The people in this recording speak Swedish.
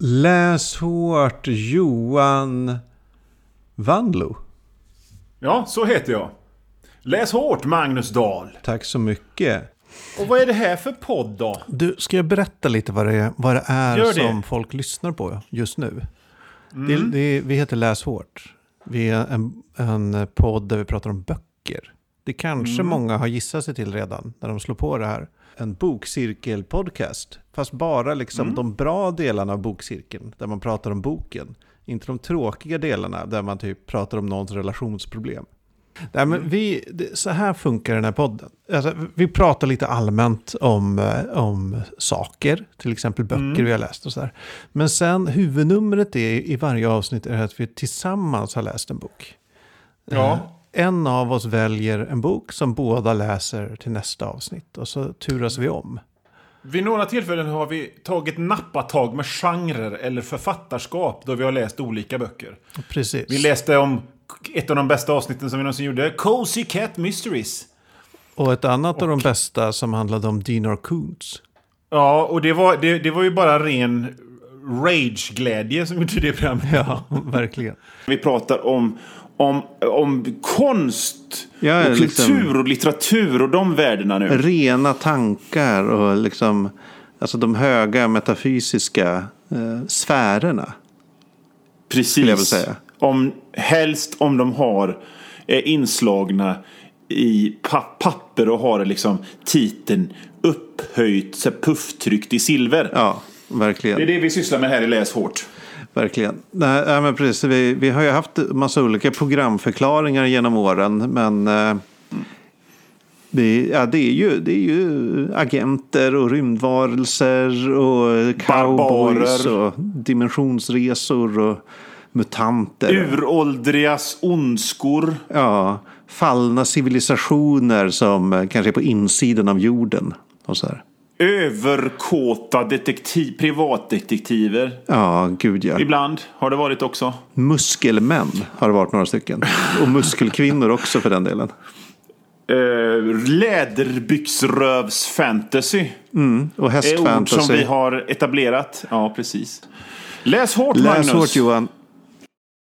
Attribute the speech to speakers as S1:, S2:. S1: Läs hårt Johan Vanlo.
S2: Ja, så heter jag. Läs hårt, Magnus Dahl.
S1: Tack så mycket.
S2: Och vad är det här för podd då?
S1: Du, ska jag berätta lite vad det är, vad det är
S2: Gör det. Mm.
S1: som folk lyssnar på just nu? Det, det, vi heter Läs hårt. Vi är en, en podd där vi pratar om böcker. Det kanske
S2: Mm.
S1: många har gissat sig till redan när de slår på det här. En bokcirkelpodcast, fast bara liksom
S2: Mm.
S1: de bra delarna av bokcirkeln, där man pratar om boken. Inte de tråkiga delarna, där man typ pratar om någons relationsproblem. Nej, men vi, det- så här funkar den här podden. Alltså, vi pratar lite allmänt om, eh, om saker, till exempel böcker vi har läst och så där. Men sen huvudnumret är, i varje avsnitt är att vi tillsammans har läst en bok. Eh,
S2: Ja.
S1: En av oss väljer en bok som båda läser till nästa avsnitt och så turas vi om.
S2: Vid några tillfällen har vi tagit nappatag med genrer eller författarskap då vi har läst olika böcker.
S1: Precis.
S2: Vi läste om ett av de bästa avsnitten som vi någonsin gjorde, Cozy Cat Mysteries.
S1: och ett annat av de bästa som handlade om Dinar Koontz.
S2: Ja, och det var, det, det var ju bara ren rage-glädje som gjorde det programmet.
S1: Ja, verkligen.
S2: Vi pratar om, om, om konst
S1: Ja,
S2: och
S1: liksom-
S2: kultur och litteratur och de värdena nu.
S1: rena tankar och liksom, alltså de höga metafysiska eh, sfärerna.
S2: Precis.
S1: jag väl säga.
S2: Om, helst om de har är inslagna i pa- papper och har liksom titeln upphöjt, så här pufftryckt i silver.
S1: Ja,
S2: Det är
S1: verkligen.
S2: det vi sysslar med här i Läs hårt.
S1: verkligen. Nej, nej, men precis, vi, vi har ju haft massa olika programförklaringar genom åren, men eh, det, ja, det, är ju, det är ju agenter och rymdvarelser och cowboys
S2: Barbarer.
S1: och dimensionsresor och mutanter.
S2: Uråldrigas ondskor.
S1: Ja, fallna civilisationer som eh, kanske är på insidan av jorden. Och så här.
S2: Överkåta detektiv, privatdetektiver.
S1: Ja, gud ja.
S2: Ibland har det varit också.
S1: Muskelmän har det varit några stycken. Och muskelkvinnor också för den delen.
S2: Uh, Läderbyxrövs-fantasy.
S1: Och
S2: är ord som vi
S1: hästfantasy.
S2: har etablerat. Ja, precis. Läs hårt,
S1: Läs
S2: Magnus.
S1: hårt Johan.